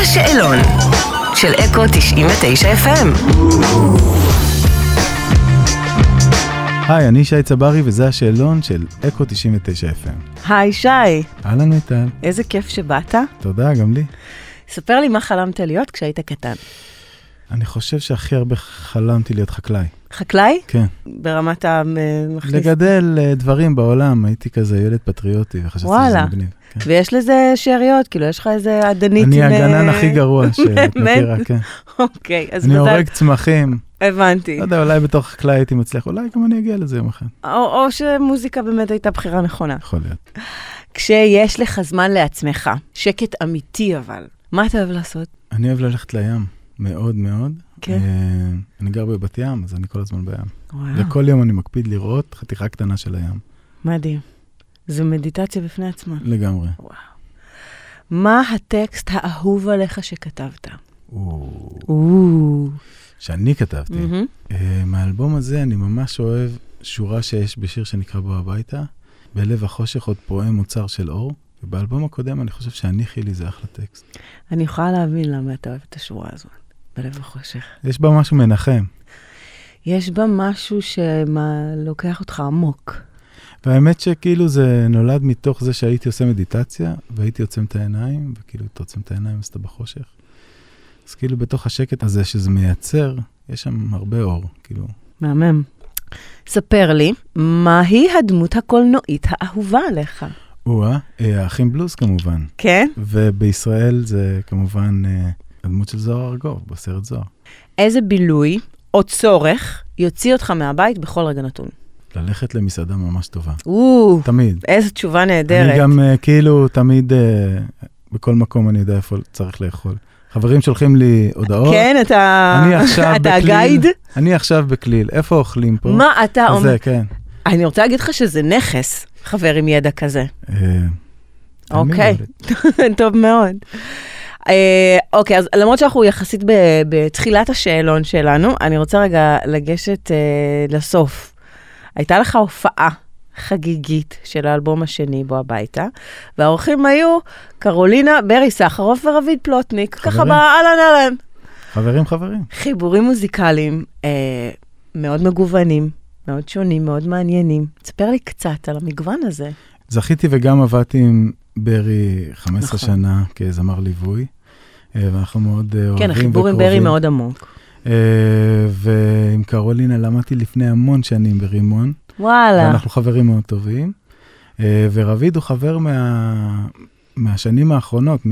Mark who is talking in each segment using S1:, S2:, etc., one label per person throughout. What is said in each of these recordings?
S1: השאלון של אקו 99 FM.
S2: היי, אני שי צברי וזה השאלון של אקו 99 FM.
S3: היי שי,
S2: אהלן מיטל,
S3: איזה כיף שבאת.
S2: תודה גם לי.
S3: ספר לי מה חלמת להיות כשהיית קטן.
S2: אני חושב שהכי הרבה חלמתי להיות חקלאי.
S3: חקלאי?
S2: כן.
S3: ברמת המכניס.
S2: לגדל אה, דברים בעולם, הייתי כזה ילד פטריוטי וחשבתי שזה
S3: וואלה.
S2: מגניב. כן.
S3: ויש לזה שאריות, כאילו יש לך איזה עדנית.
S2: אני
S3: עם,
S2: הגנן
S3: אה,
S2: הכי גרוע שאת מכירה, כן.
S3: אוקיי, אז
S2: אני
S3: מזל-
S2: הורג צמחים,
S3: הבנתי.
S2: לא יודע, אולי בתור חקלאי הייתי מצליח, אולי גם אני אגיע לזה יום אחד,
S3: או, או שמוזיקה באמת הייתה בחירה נכונה.
S2: יכול להיות.
S3: כשיש לך זמן לעצמך, שקט אמיתי אבל, מה אתה אוהב לעשות?
S2: אני אוהב ללכת לים, מאוד מאוד.
S3: כן. אה.
S2: אה, אני גר בבת ים, אז אני כל הזמן בים.
S3: וואו,
S2: וכל יום אני מקפיד לראות חתיכה קטנה של הים,
S3: מדהים. זו מדיטציה בפני עצמה.
S2: לגמרי.
S3: מה הטקסט האהוב עליך שכתבת?
S2: או,
S3: או,
S2: שאני כתבתי.
S3: מהמם.
S2: אה, מהאלבום הזה אני ממש אוהב שורה שיש בשיר שנקרא בוא הביתה, בלב החושך עוד פועם מוצר של אור, ובאלבום הקודם אני חושב שהניחי לי זה אחלה טקסט.
S3: אני יכולה להבין למה אתה אוהב את השורה הזאת, בלב החושך.
S2: יש בה משהו מנחם,
S3: יש בה משהו שלוקח אותך עמוק.
S2: והאמת שכאילו זה נולד מתוך זה שהייתי עושה מדיטציה, והייתי עוצם את העיניים, וכאילו אתה עוצם את העיניים אז אתה בחושך. אז כאילו בתוך השקט הזה שזה מייצר, יש שם הרבה אור, כאילו.
S3: מהמם. ספר לי, מהי הדמות הקולנועית האהובה עליך?
S2: או-אה, אה, האחים בלוס כמובן.
S3: כן?
S2: ובישראל זה כמובן אה, הדמות של זוהר ארגוב, בסרט זוהר.
S3: איזה בילוי או צורך יוציא אותך מהבית בכל רגע נתון?
S2: ללכת למסעדה ממש טובה,
S3: או,
S2: תמיד.
S3: איזו תשובה
S2: אני
S3: נהדרת.
S2: גם אה, כאילו תמיד, אה, בכל מקום אני יודע איפה צריך לאכול. חברים שולחים לי הודעות.
S3: כן, אתה...
S2: לא- אני עכשיו
S3: אתה
S2: בקליל.
S3: הגייד?
S2: אני עכשיו בכליל, איפה אוכלים פה?
S3: מה אתה
S2: אז
S3: אומר?
S2: זה, כן.
S3: אני רוצה להגיד לך שזה נכס, חבר עם ידע כזה.
S2: אה, תמיד
S3: אוקיי.
S2: אוהבת.
S3: טוב מאוד. אה, אוקיי, אז למרות שאנחנו יחסית ב- בתחילת השאלון שלנו, אני רוצה רגע לגשת אה, לסוף. הייתה לך הופעה חגיגית של האלבום השני בו הביתה, והאורחים היו קרולינה, ברי סחרוף ורביד פלוטניק, ככה
S2: חברים.
S3: באהלן אהלן.
S2: חברים, חברים.
S3: חיבורים מוזיקליים אה, מאוד מגוונים, מאוד שונים, מאוד מעניינים. תספר לי קצת על המגוון הזה.
S2: זכיתי וגם עבדתי עם ברי 15
S3: נכון.
S2: שנה כזמר ליווי, אה, ואנחנו מאוד אה, אוהבים
S3: כן,
S2: וקרובים.
S3: החיבור עם ברי מאוד עמוק.
S2: אה, ועם קרולינה למדתי לפני המון שנים ברימון,
S3: וואלה.
S2: ואנחנו חברים מאוד טובים. אה, ורביד הוא חבר מה... מהשנים האחרונות, מ...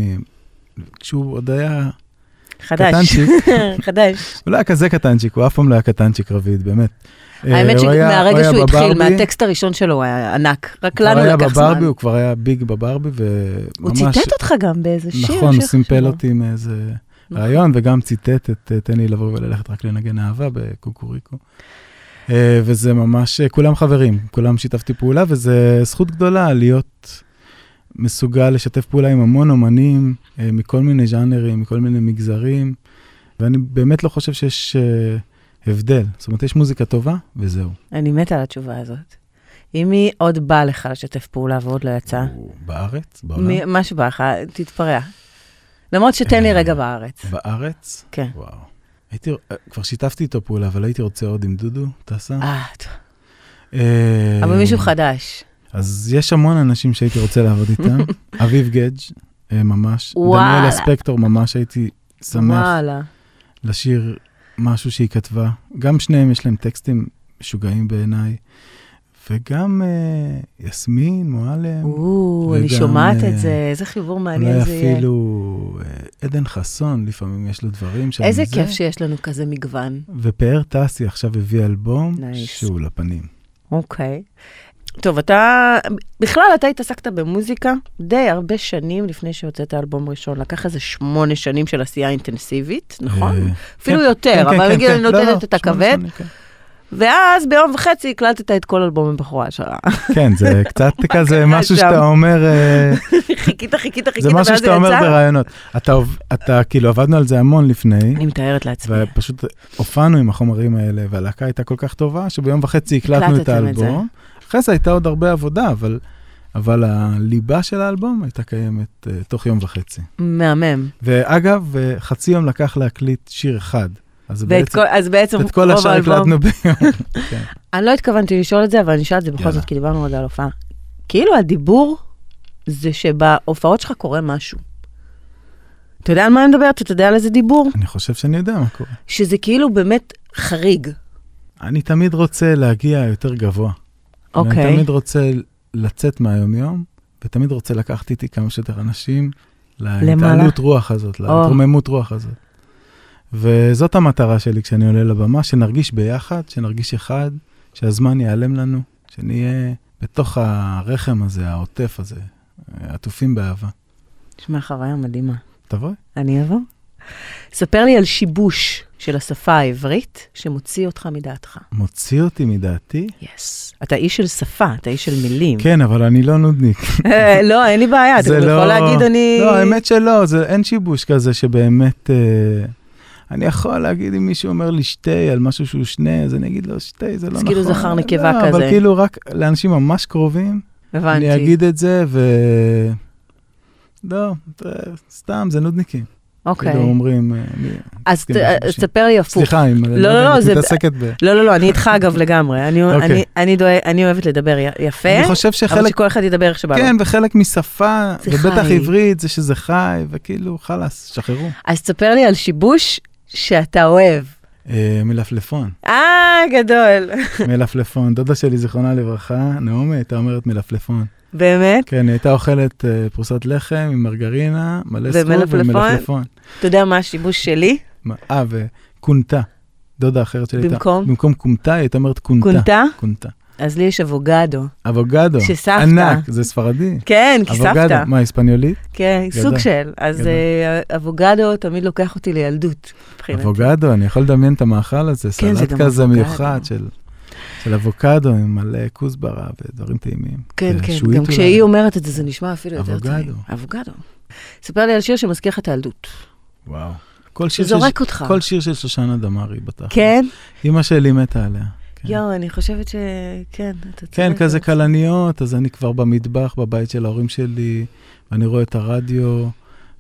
S2: כשהוא עוד היה
S3: חדש,
S2: קטנצ'יק,
S3: חדש.
S2: הוא לא היה כזה קטנצ'יק, הוא אף פעם לא היה קטנצ'יק רביד, באמת.
S3: האמת
S2: אה, הוא היה- הוא
S3: שמהרגע
S2: היה
S3: שהוא התחיל,
S2: בברבי,
S3: מהטקסט הראשון שלו הוא היה ענק, רק
S2: הוא כבר
S3: לנו
S2: היה
S3: לקח זמן.
S2: בברבי, הוא כבר היה ביג בברבי, וממש...
S3: הוא ציטט אותך גם באיזה שיר.
S2: נכון,
S3: שיר
S2: עושים
S3: שלו.
S2: פלוטים מאיזה
S3: נכון.
S2: רעיון, וגם ציטט את אה, תן לי לבוא וללכת רק לנגן אהבה בקוקוריקו. אה, וזה ממש, אה, כולם חברים, כולם שיתפתי פעולה, וזה זכות גדולה להיות מסוגל לשתף פעולה עם המון אומנים אה, מכל מיני ז'אנרים, מכל מיני מגזרים, ואני באמת לא חושב שיש אה, הבדל. זאת אומרת, יש מוזיקה טובה, וזהו.
S3: אני מתה על התשובה הזאת. אם היא עוד באה לך לשתף פעולה ועוד לא יצאה,
S2: בארץ? בעולם?
S3: מי- מה שבא לך, תתפרע. למרות שתן לי
S2: אה,
S3: רגע בארץ.
S2: בארץ?
S3: כן.
S2: וואו. הייתי, אה, כבר שיתפתי איתו פעולה, אבל הייתי רוצה עוד עם דודו, טסה.
S3: אה, טוב.
S2: אה,
S3: אבל מישהו חדש.
S2: אז יש המון אנשים שהייתי רוצה לעבוד איתם. אביב גדג', אה, ממש.
S3: וואלה.
S2: דניאלה ספקטור, ממש הייתי שמח כן.
S3: וואלה.
S2: לשיר משהו שהיא כתבה. גם שניהם יש להם טקסטים משוגעים בעיניי. וגם אה, יסמין, מועלם,
S3: או, אני
S2: וגם,
S3: שומעת
S2: אה,
S3: את זה, איזה חיבור מעניין
S2: אולי
S3: זה יהיה.
S2: אפילו אה, עדן חסון, לפעמים יש לו דברים שם.
S3: איזה
S2: זה.
S3: כיף שיש לנו כזה מגוון.
S2: ופאר טסי עכשיו הביא אלבום
S3: Nice.
S2: שהוא לפנים.
S3: אוקיי. טוב, אתה, בכלל אתה התעסקת במוזיקה די הרבה שנים לפני שהוצאת אלבום ראשון. לקח איזה שמונה שנים של עשייה אינטנסיבית, נכון?
S2: אה,
S3: אפילו
S2: כן,
S3: יותר,
S2: כן, כן,
S3: אבל
S2: כן,
S3: נגיד
S2: כן.
S3: אני
S2: לא, לא,
S3: נותנת את
S2: שמונה
S3: הכבד,
S2: שנים, כן.
S3: ואז ביום וחצי הקלטת את כל אלבום הבכורה שלך.
S2: כן, זה קצת כזה
S3: קרה
S2: משהו
S3: שם?
S2: שאתה אומר, אה,
S3: חיכית, חיכית, חיכית,
S2: זה משהו
S3: ואז זה
S2: שאתה אומר
S3: יצא.
S2: ברעיונות. אתה עוב- אתה, כאילו, עבדנו על זה המון לפני,
S3: אני מתארת לעצמי.
S2: ופשוט הופענו עם החומרים האלה, והלהקה הייתה כל כך טובה, שביום וחצי הקלטנו את
S3: הקלטתם את זה.
S2: האלבום. אחרי זה הייתה עוד הרבה עבודה, אבל אבל הליבה של האלבום הייתה קיימת אה, תוך יום וחצי.
S3: מהמם.
S2: ואגב, אה, חצי יום לקח להקליט שיר אחד. אז
S3: ואת
S2: בעצם,
S3: כל- אז בעצם
S2: את כל
S3: רוב
S2: השאר
S3: האלבום-
S2: הקלטנו ביום. כן.
S3: אני לא התכוונתי לשאול את זה, אבל אני אשאל את זה בכל
S2: יאללה.
S3: זאת, כי דיברנו עוד על הופעה. כאילו הדיבור זה שבהופעות שלך קורה משהו. אתה יודע על מה אני מדברת? אתה יודע על איזה דיבור?
S2: אני חושב שאני יודע מה קורה.
S3: שזה כאילו באמת חריג.
S2: אני תמיד רוצה להגיע יותר גבוה. אני
S3: אוקיי.
S2: תמיד רוצה לצאת מהיומיום, ותמיד רוצה לקחת איתי כמה שיותר אנשים להתעלות רוח הזאת,
S3: או.
S2: להתרוממות רוח הזאת. וזאת המטרה שלי כשאני עולה לבמה, שנרגיש ביחד, שנרגיש אחד, שהזמן ייעלם לנו, שנהיה בתוך הרחם הזה, העוטף הזה, אה, עטופים באהבה.
S3: תשמע, חוויה מדהימה.
S2: תבואי.
S3: אני אבוא. ספר לי על שיבוש של השפה העברית שמוציא אותך מדעתך.
S2: מוציא אותי מדעתי?
S3: יס. אתה איש של שפה, אתה איש של מילים.
S2: כן, אבל אני לא נודניק.
S3: אה, לא, אין לי בעיה, אתה
S2: זה
S3: גם
S2: לא-
S3: יכול להגיד אני...
S2: לא, האמת שלא, זה, אין שיבוש כזה שבאמת... אה, אני יכול להגיד אם מישהו אומר לי שתי על משהו שהוא שני, אז אני אגיד לו שתי, זה לא
S3: אז
S2: נכון.
S3: כאילו זכר נקבה
S2: לא,
S3: כזה.
S2: אבל כאילו רק לאנשים ממש קרובים, אני
S3: הבנתי.
S2: אגיד את זה, ו... לא, זה- סתם, זה נודניקים.
S3: אוקיי.
S2: כאילו אומרים... אה, מי-
S3: אז ת-
S2: כן,
S3: אה,
S2: שיבושים.
S3: תספר לי הפוך.
S2: סליחה, אם אני
S3: לא,
S2: לא יודע,
S3: לא,
S2: את
S3: זה-
S2: מתעסקת ב...
S3: לא, לא, לא, אני איתך אגב לגמרי. אני-
S2: אוקיי.
S3: אני- אני דואג- אני אוהבת לדבר י- יפה,
S2: אני חושב
S3: אבל
S2: שחלק...
S3: שכל אחד ידבר איך שבא לו.
S2: כן, וחלק משפה,
S3: זה
S2: ובטח
S3: חי.
S2: עברית, זה שזה חי, וכאילו, חלאס, שחררו.
S3: אז תספר לי על שיבוש שאתה אוהב.
S2: אה, מלפלפון.
S3: אה, גדול.
S2: מלפלפון. דודה שלי, זיכרונה לברכה, נעמי, הייתה אומרת מלפלפון.
S3: באמת?
S2: כן, היא הייתה אוכלת אה, פרוסת לחם עם מרגרינה, מלא סחור
S3: ומלפלפון?
S2: ומלפלפון.
S3: אתה יודע מה השיבוש שלי?
S2: מה- אה, וכונתה. דודה אחרת שלי הייתה.
S3: במקום?
S2: במקום כומתה, היא הייתה אומרת כונתה.
S3: כונתה?
S2: כונתה.
S3: אז לי יש אבוגדו.
S2: אבוגדו.
S3: שסבתא.
S2: ענק, זה ספרדי.
S3: כן, כי סבתא.
S2: מה, היספניולית?
S3: כן,
S2: גדול.
S3: סוג של. אז
S2: גדול.
S3: אה, אבוגדו תמיד לוקח אותי לילדות. מבחינתי.
S2: אבוגדו, אני יכול לדמיין את המאכל הזה,
S3: כן, זה
S2: סלט
S3: גם
S2: כזה
S3: אבוקדו.
S2: מיוחד של... של אבוקדו עם מלא כוסברה ודברים טעימים.
S3: כן, כן,
S2: ושועית
S3: גם
S2: אולי.
S3: כשהיא אומרת את זה, זה נשמע אפילו יותר
S2: אבוקדו.
S3: טעים. אבוגדו. ספר לי על שיר שמזכיר לך את הילדות.
S2: וואו. כל שיר של-
S3: שזורק אותך.
S2: כל שיר של שושנה דמארי בתכל'ס.
S3: כן?
S2: אימא שלי מתה עליה. כן.
S3: יואו, אני חושבת ש... כן, אתה צודק.
S2: כן, כזה כלניות, אז אני כבר במטבח, בבית של ההורים שלי, ואני רואה את הרדיו,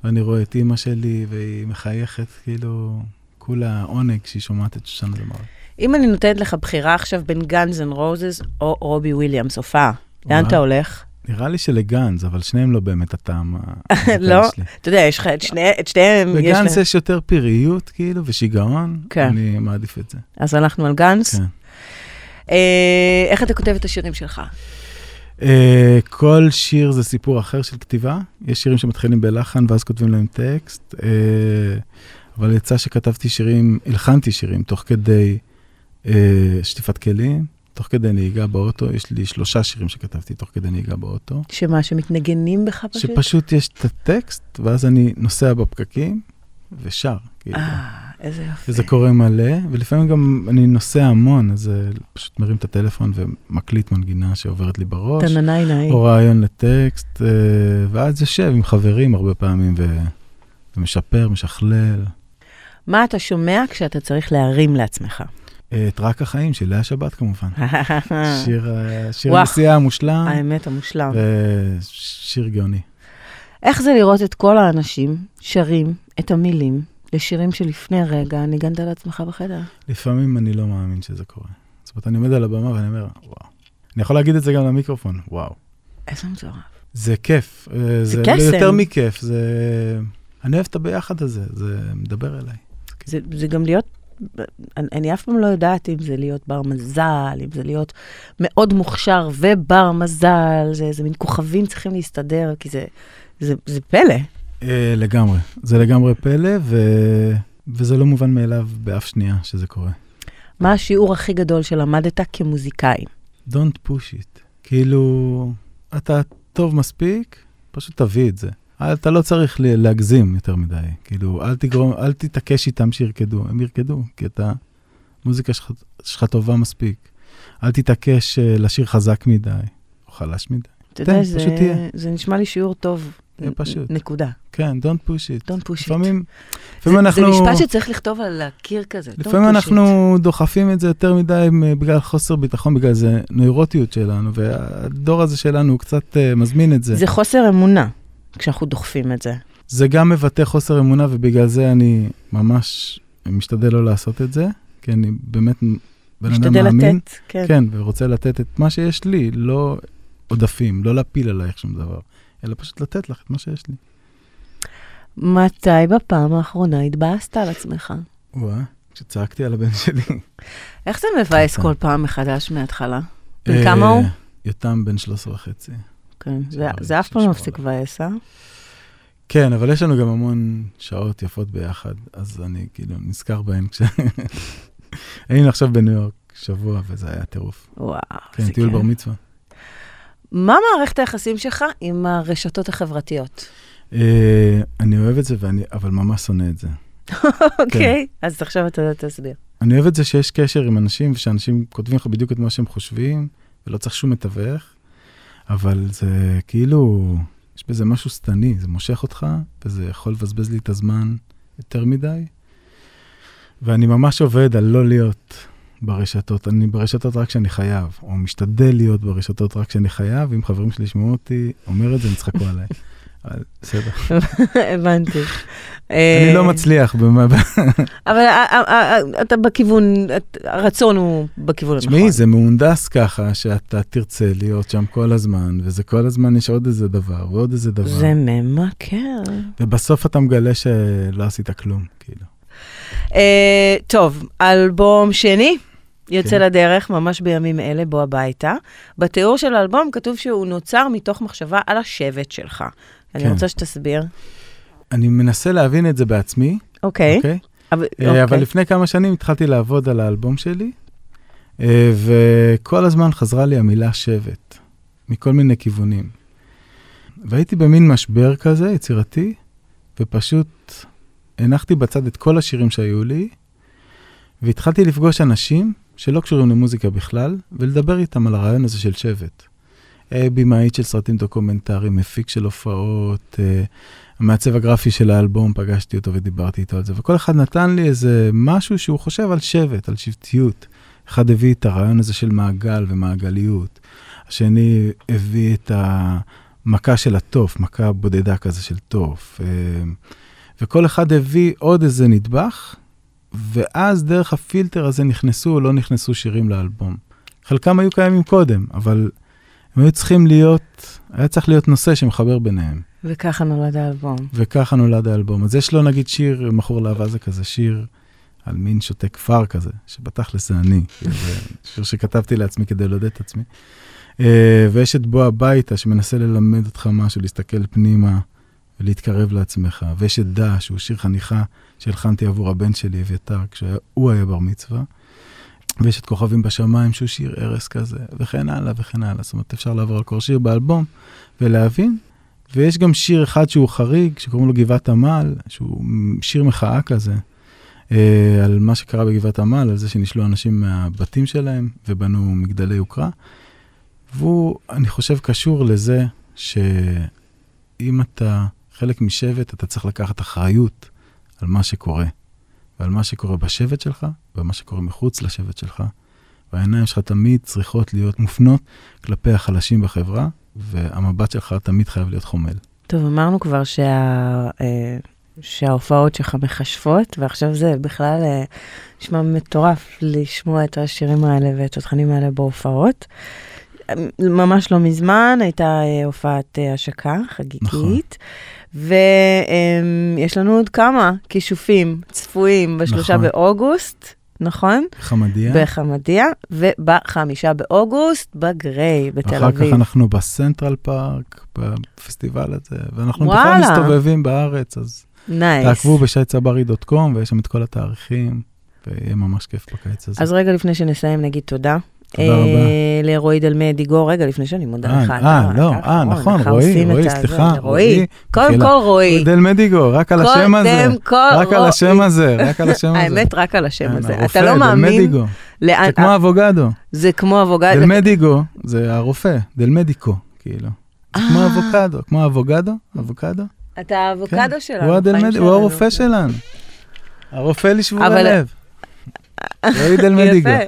S2: ואני רואה את אימא שלי, והיא מחייכת, כאילו, כולה עונג שהיא שומעת את שושנה דמארי.
S3: אם אני נותנת לך בחירה עכשיו בין גאנז אנד רוזס או רובי וויליאמס, הופעה, לאן
S2: וואו.
S3: אתה הולך?
S2: נראה לי שלגנז, אבל שניהם לא באמת הטעם. ה-
S3: לא?
S2: המוזיקלי שלי.
S3: אתה יודע, יש לך את שני- את שניהם, יש
S2: לגנז
S3: להם.
S2: יש יותר פיריות, כאילו, ושיגעון,
S3: כן.
S2: אני מעדיף את זה.
S3: אז הלכנו על גאנז.
S2: כן.
S3: אה, איך אתה כותב את השירים שלך?
S2: אה, כל שיר זה סיפור אחר של כתיבה. יש שירים שמתחילים בלחן ואז כותבים להם טקסט, אה, אבל יצא שכתבתי שירים, הלחנתי שירים תוך כדי אה, שטיפת כלים, תוך כדי נהיגה באוטו. יש לי שלושה שירים שכתבתי תוך כדי נהיגה באוטו.
S3: שמה, שמתנגנים בך פשוט?
S2: שפשוט יש את הטקסט, ואז אני נוסע בפקקים ושר, כאילו.
S3: אה, איזה יופי.
S2: וזה קורה מלא, ולפעמים גם אני נוסע המון, אז אה, פשוט מרים את הטלפון ומקליט מנגינה שעוברת לי בראש.
S3: תננאי נאי.
S2: לא או רעיון לטקסט, אה, ואז יושב עם חברים הרבה פעמים ו- ומשפר, משכלל.
S3: מה אתה שומע כשאתה צריך להרים לעצמך?
S2: אה, את רק החיים של לאה שבת כמובן. שיר, אה, שיר
S3: וואו.
S2: נסיעה מושלם,
S3: האמת המושלם.
S2: ושיר גאוני.
S3: איך זה לראות את כל האנשים שרים את המילים לשירים שלפני רגע ניגנת על עצמך בחדר?
S2: לפעמים אני לא מאמין שזה קורה. זאת אומרת, אני עומד על הבמה ואני אומר, וואו. אני יכול להגיד את זה גם למיקרופון, וואו.
S3: איזה מטורף.
S2: זה כיף. אה, זה
S3: קסם.
S2: יותר מכיף, זה... אני אוהב את הביחד הזה, זה מדבר אליי.
S3: זה, זה גם להיות, אני, אני אף פעם לא יודעת אם זה להיות בר מזל, אם זה להיות מאוד מוכשר ובר מזל, זה, זה מין כוכבים צריכים להסתדר, כי זה, זה, זה פלא.
S2: אה, לגמרי. זה לגמרי פלא, ו... וזה לא מובן מאליו באף שנייה שזה קורה.
S3: מה השיעור הכי גדול שלמדת כמוזיקאי?
S2: Don't push it. כאילו, אתה טוב מספיק, פשוט תביא את זה. אל- אתה לא צריך ל- להגזים יותר מדי. כאילו, אל תגרום, אל תתעקש איתם שירקדו, הם ירקדו, כי אתה, מוזיקה שלך- שלך טובה מספיק. אל תתעקש אה, לשיר חזק מדי, או חלש מדי.
S3: אתה יודע,
S2: תן,
S3: זה,
S2: פשוט תהיה.
S3: כן, זה נשמע לי שיעור טוב
S2: אה, פשוט.
S3: נקודה.
S2: כן, don't push it.
S3: Don't push it.
S2: לפעמים,
S3: זה,
S2: לפעמים אנחנו...
S3: זה משפט שצריך לכתוב על הקיר כזה. Don't
S2: לפעמים
S3: push
S2: אנחנו דוחפים את זה יותר מדי מ- בגלל חוסר ביטחון, בגלל זה נוירוטיות שלנו, והדור הזה שלנו הוא קצת אה, מזמין את
S3: it.
S2: זה.
S3: זה חוסר אמונה כשאנחנו דוחפים את זה.
S2: זה גם מבטא חוסר אמונה, ובגלל זה אני ממש משתדל לא לעשות את זה, כי אני באמת בן אדם
S3: משתדל
S2: מאמין.
S3: לתת, כן.
S2: כן, ורוצה לתת את מה שיש לי, לא עודפים, לא להפיל עלייך שום דבר, אלא פשוט לתת לך את מה שיש לי.
S3: מתי בפעם האחרונה התבאסת על עצמך?
S2: וואה, כשצעקתי על הבן שלי.
S3: איך זה מבאס
S2: כן.
S3: כל פעם מחדש מההתחלה? בן כמה הוא?
S2: אה, יותם בן 13 וחצי.
S3: כן, זה-
S2: שחור,
S3: זה אף פעם לא
S2: שחור.
S3: מפסיק לבאס, אה?
S2: כן, אבל יש לנו גם המון שעות יפות ביחד, אז אני כאילו נזכר בהן כש... היינו עכשיו בניו יורק שבוע, וזה היה טירוף.
S3: וואו,
S2: כן,
S3: זה
S2: טיול בר מצווה.
S3: מה מערכת היחסים שלך עם הרשתות החברתיות?
S2: כן. אה, אני אוהב את זה, ואני, אבל ממש שונא את זה.
S3: אוקיי, אז עכשיו אתה תסביר.
S2: אני אוהב את זה שיש קשר עם אנשים, ושאנשים כותבים לך בדיוק את מה שהם חושבים, ולא צריך שום מתווך, אבל זה כאילו, יש בזה משהו שטני, זה מושך אותך, וזה יכול לבזבז לי את הזמן יותר מדי. ואני ממש עובד על לא להיות ברשתות, אני ברשתות רק כשאני חייב, או משתדל להיות ברשתות רק כשאני חייב, אם חברים שלי ישמעו אותי אומר את זה, הם יצחקו עליי. אבל בסדר.
S3: הבנתי.
S2: אני
S3: אה,
S2: לא מצליח במה...
S3: אבל אה, אה, אה, אתה בכיוון, את- הרצון הוא בכיוון הנכון.
S2: תשמעי, זה מהונדס ככה, שאתה תרצה להיות שם כל הזמן, וזה כל הזמן יש עוד איזה דבר ועוד איזה דבר,
S3: זה כן? ממכר.
S2: ובסוף אתה מגלה שלא עשית כלום, כאילו.
S3: אה, טוב, אלבום שני יוצא
S2: כן.
S3: לדרך ממש בימים אלה, בוא הביתה. בתיאור של האלבום כתוב שהוא נוצר מתוך מחשבה על השבט שלך. אני
S2: כן.
S3: רוצה שתסביר.
S2: אני מנסה להבין את זה בעצמי,
S3: אוקיי.
S2: אוקיי?
S3: אבל-
S2: אה, אבל
S3: אוקיי.
S2: לפני כמה שנים התחלתי לעבוד על האלבום שלי, אה, וכל הזמן חזרה לי המילה שבט, מכל מיני כיוונים. והייתי במין משבר כזה, יצירתי, ופשוט הנחתי בצד את כל השירים שהיו לי, והתחלתי לפגוש אנשים שלא קשורים למוזיקה בכלל, ולדבר איתם על הרעיון הזה של שבט. אה, במאית של סרטים דוקומנטריים, מפיק של הופעות, אה, המעצב הגרפי של האלבום, פגשתי אותו ודיברתי איתו על זה, וכל אחד נתן לי איזה משהו שהוא חושב על שבט, על שבטיות. אחד הביא את הרעיון הזה של מעגל ומעגליות, השני הביא את המכה של התוף, מכה בודדה כזה של תוף, אה, וכל אחד הביא עוד איזה נדבך, ואז דרך הפילטר הזה נכנסו או לא נכנסו שירים לאלבום. חלקם היו קיימים קודם, אבל הם היו צריכים להיות, היה צריך להיות נושא שמחבר ביניהם.
S3: וככה נולד האלבום.
S2: וככה נולד האלבום. אז יש לו נגיד שיר, מכור לאהבה זה כזה שיר על מין שותה כפר כזה, שבתכלס זה אני. כאילו, זה שיר שכתבתי לעצמי כדי לעודד את עצמי. אה, ויש את בוא הביתה שמנסה ללמד אותך משהו, להסתכל פנימה ולהתקרב לעצמך. ויש את דע, שהוא שיר חניכה שהלחנתי עבור הבן שלי, אביתר, כשהוא היה בר מצווה. ויש את כוכבים בשמיים שהוא שיר ארס כזה, וכן הלאה וכן הלאה. זאת אומרת, אפשר לעבור על כל שיר באלבום ולהבין ויש גם שיר אחד שהוא חריג, שקוראים לו גבעת עמל, שהוא שיר מחאה כזה, אה, על מה שקרה בגבעת עמל, על זה שנשלו אנשים מהבתים שלהם ובנו מגדלי יוקרה. והוא, אני חושב, קשור לזה שאם אתה חלק משבט, אתה צריך לקחת אחריות על מה שקורה, ועל מה שקורה בשבט שלך, ועל מה שקורה מחוץ לשבט שלך. והעיניים שלך תמיד צריכות להיות מופנות כלפי החלשים בחברה, והמבט שלך תמיד חייב להיות חומל.
S3: טוב, אמרנו כבר שה... אה, שההופעות שלך מכשפות, ועכשיו זה בכלל אה, נשמע מטורף לשמוע את השירים האלה ואת התכנים האלה בהופעות. אה, ממש לא מזמן הייתה אה, הופעת אה, השקה
S2: נכון.
S3: חגיגית, ויש לנו עוד כמה כישופים צפויים בשלושה
S2: נכון. כן.
S3: באוגוסט, נכון?
S2: חמדיה.
S3: בחמדיה, ובחמישה באוגוסט בגריי בתל
S2: אחר
S3: אביב.
S2: כך אנחנו בסנטרל פארק, בפסטיבל הזה, ואנחנו בכלל
S3: וואלה.
S2: מסתובבים בארץ, אז
S3: נייס.
S2: תעקבו בשייצברי.com, ויש שם את כל התאריכים, ויהיה ממש כיף בקיץ הזה.
S3: אז רגע לפני שנסיים נגיד תודה.
S2: תודה רבה.
S3: אה, לרועי דלמדי גור, רגע לפני שאני מודה
S2: אה,
S3: לך.
S2: אה,
S3: אתה-
S2: לא,
S3: אתה
S2: אה,
S3: אחרון,
S2: נכון,
S3: ככה
S2: רועי,
S3: עושים את
S2: רועי,
S3: הזה.
S2: סליחה,
S3: רועי.
S2: רועי,
S3: קודם
S2: מחילה.
S3: כל רועי.
S2: דל מדיגו, רק על השם הזה.
S3: קודם כל
S2: רק על
S3: רועי.
S2: השם הזה, רק על השם הזה.
S3: האמת, רק על השם
S2: כן,
S3: הזה.
S2: הרופא,
S3: אתה לא
S2: דל
S3: מאמין אה,
S2: מדיגו.
S3: לאן...
S2: זה כמו אבוגדו.
S3: זה כמו אבוגד.
S2: דל מדיגו זה הרופא, דל מדיקו, כאילו.
S3: אה.
S2: כמו אבוקדו, כמו אבוגדו, אבוקדו.
S3: אתה האבוקדו
S2: כן.
S3: שלנו.
S2: הוא אדל
S3: חיים
S2: מדי-
S3: שלנו.
S2: הוא הרופא שלנו. הרופא לשבורי
S3: אבל-
S2: לב. רועי דל מדיגו.
S3: יפה.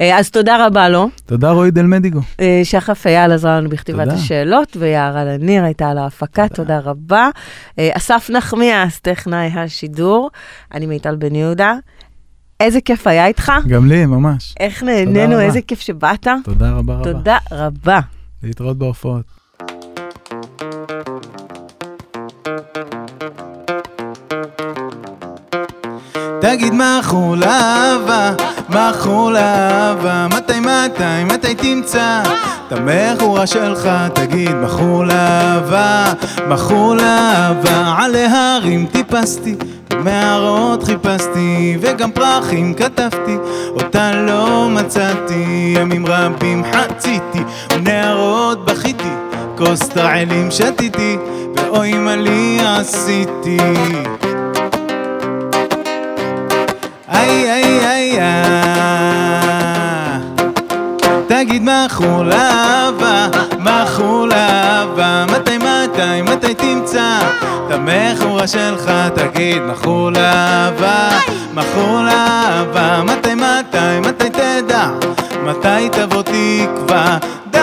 S3: אה, אז תודה רבה לו.
S2: תודה רועי דל מדיגו.
S3: אה, שחף אייל עזרה לנו בכתיבת
S2: תודה.
S3: השאלות, ויערה לניר הייתה על ההפקה, תודה,
S2: תודה.
S3: תודה רבה. אה, אסף נחמיאס, טכנאי השידור, אני מיטל בן יהודה. איזה כיף היה איתך,
S2: גם לי, ממש.
S3: איך נהנינו,
S2: רבה.
S3: איזה כיף שבאת.
S2: תודה רבה רבה.
S3: תודה רבה.
S2: להתראות בהופעות. תגיד מה חול אהבה, מה חול אהבה, מתי מתי מתי תמצא את המכורה שלך, תגיד מה חול אהבה, מה חול אהבה, על ההרים טיפסתי, מערות חיפשתי, וגם פרחים כתבתי, אותה לא מצאתי, ימים רבים חציתי, ונערות בכיתי, כוס תעלים שתיתי, ואוי מה לי עשיתי. איי איי איי אה. תגיד מה חול אהבה, מה חול אהבה, מתי מתי מתי תמצא את המכורה שלך, תגיד מה חול אהבה, מה חול אהבה, מתי מתי מתי תדע, מתי תבוא תקווה, די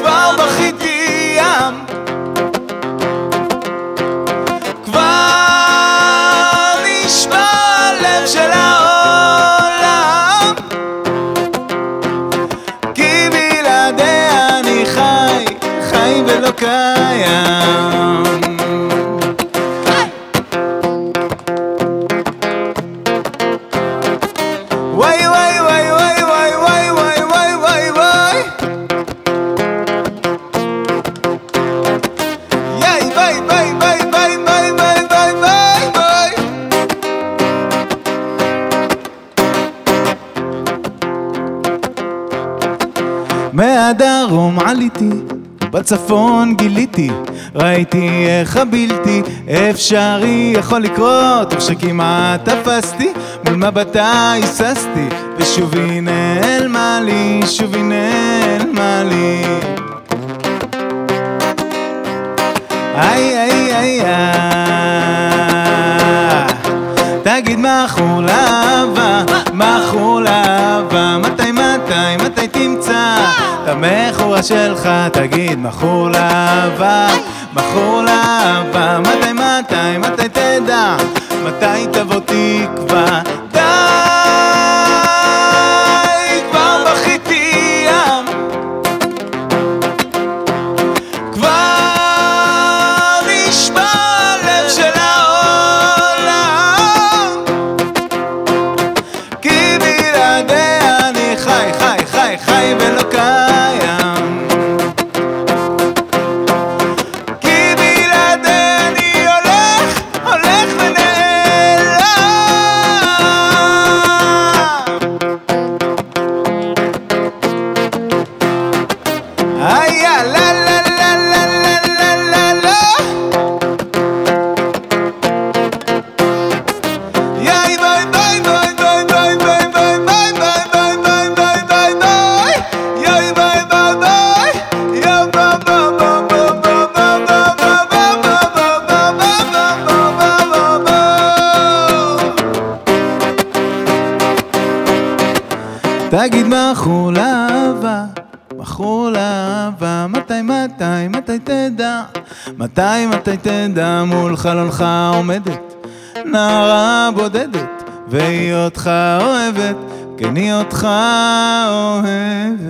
S2: כבר בכיתי ים כבר נשמע הלב של העולם כי בלעדיה אני חי, חי ולא קיים וואי וואי וואי וואי וואי וואי וואי וואי וואי וואי Yay, bye, bye, bye, bye, bye, bye, bye, bye, bye. מהדרום עליתי, בצפון גיליתי, ראיתי איך הבלתי אפשרי יכול לקרות, וכשכמעט תפסתי, מול מבטה היססתי, ושוב היא נעלמה לי, שוב היא נעלמה לי. איי איי איי אה. תגיד מה חול אהבה, מה חול אהבה, מתי מתי מתי תמצא את המכורה שלך, תגיד מה חול אהבה, מה חול אהבה, מתי מתי מתי תדע, מתי תבוא תקווה, די כבר בכיתי ים כבר נשמע הלב של העולם כי בלעדיה אני חי, חי, חי, חי ולא קיים כי בלעדיה אני הולך, הולך ונעלם Aya, Ah, la, la, la, la, la, la, la, la. Yay, bye, bye, bye, bye, bye, bye, bye, bye, bye, bye, bye, bye, bye, bye. Yay, bye, bye, bye. Yo, ba, ba, ba, ba, ba, ba, ba, ba, ba, ba, ba, ba, ba, ba, ba, ba, ba, ba. תגיד מה חול אהבה, מה חול אהבה, מתי מתי מתי תדע, מתי מתי תדע מול חלונך עומדת, נערה בודדת, והיא אותך אוהבת, כן היא אותך אוהבת.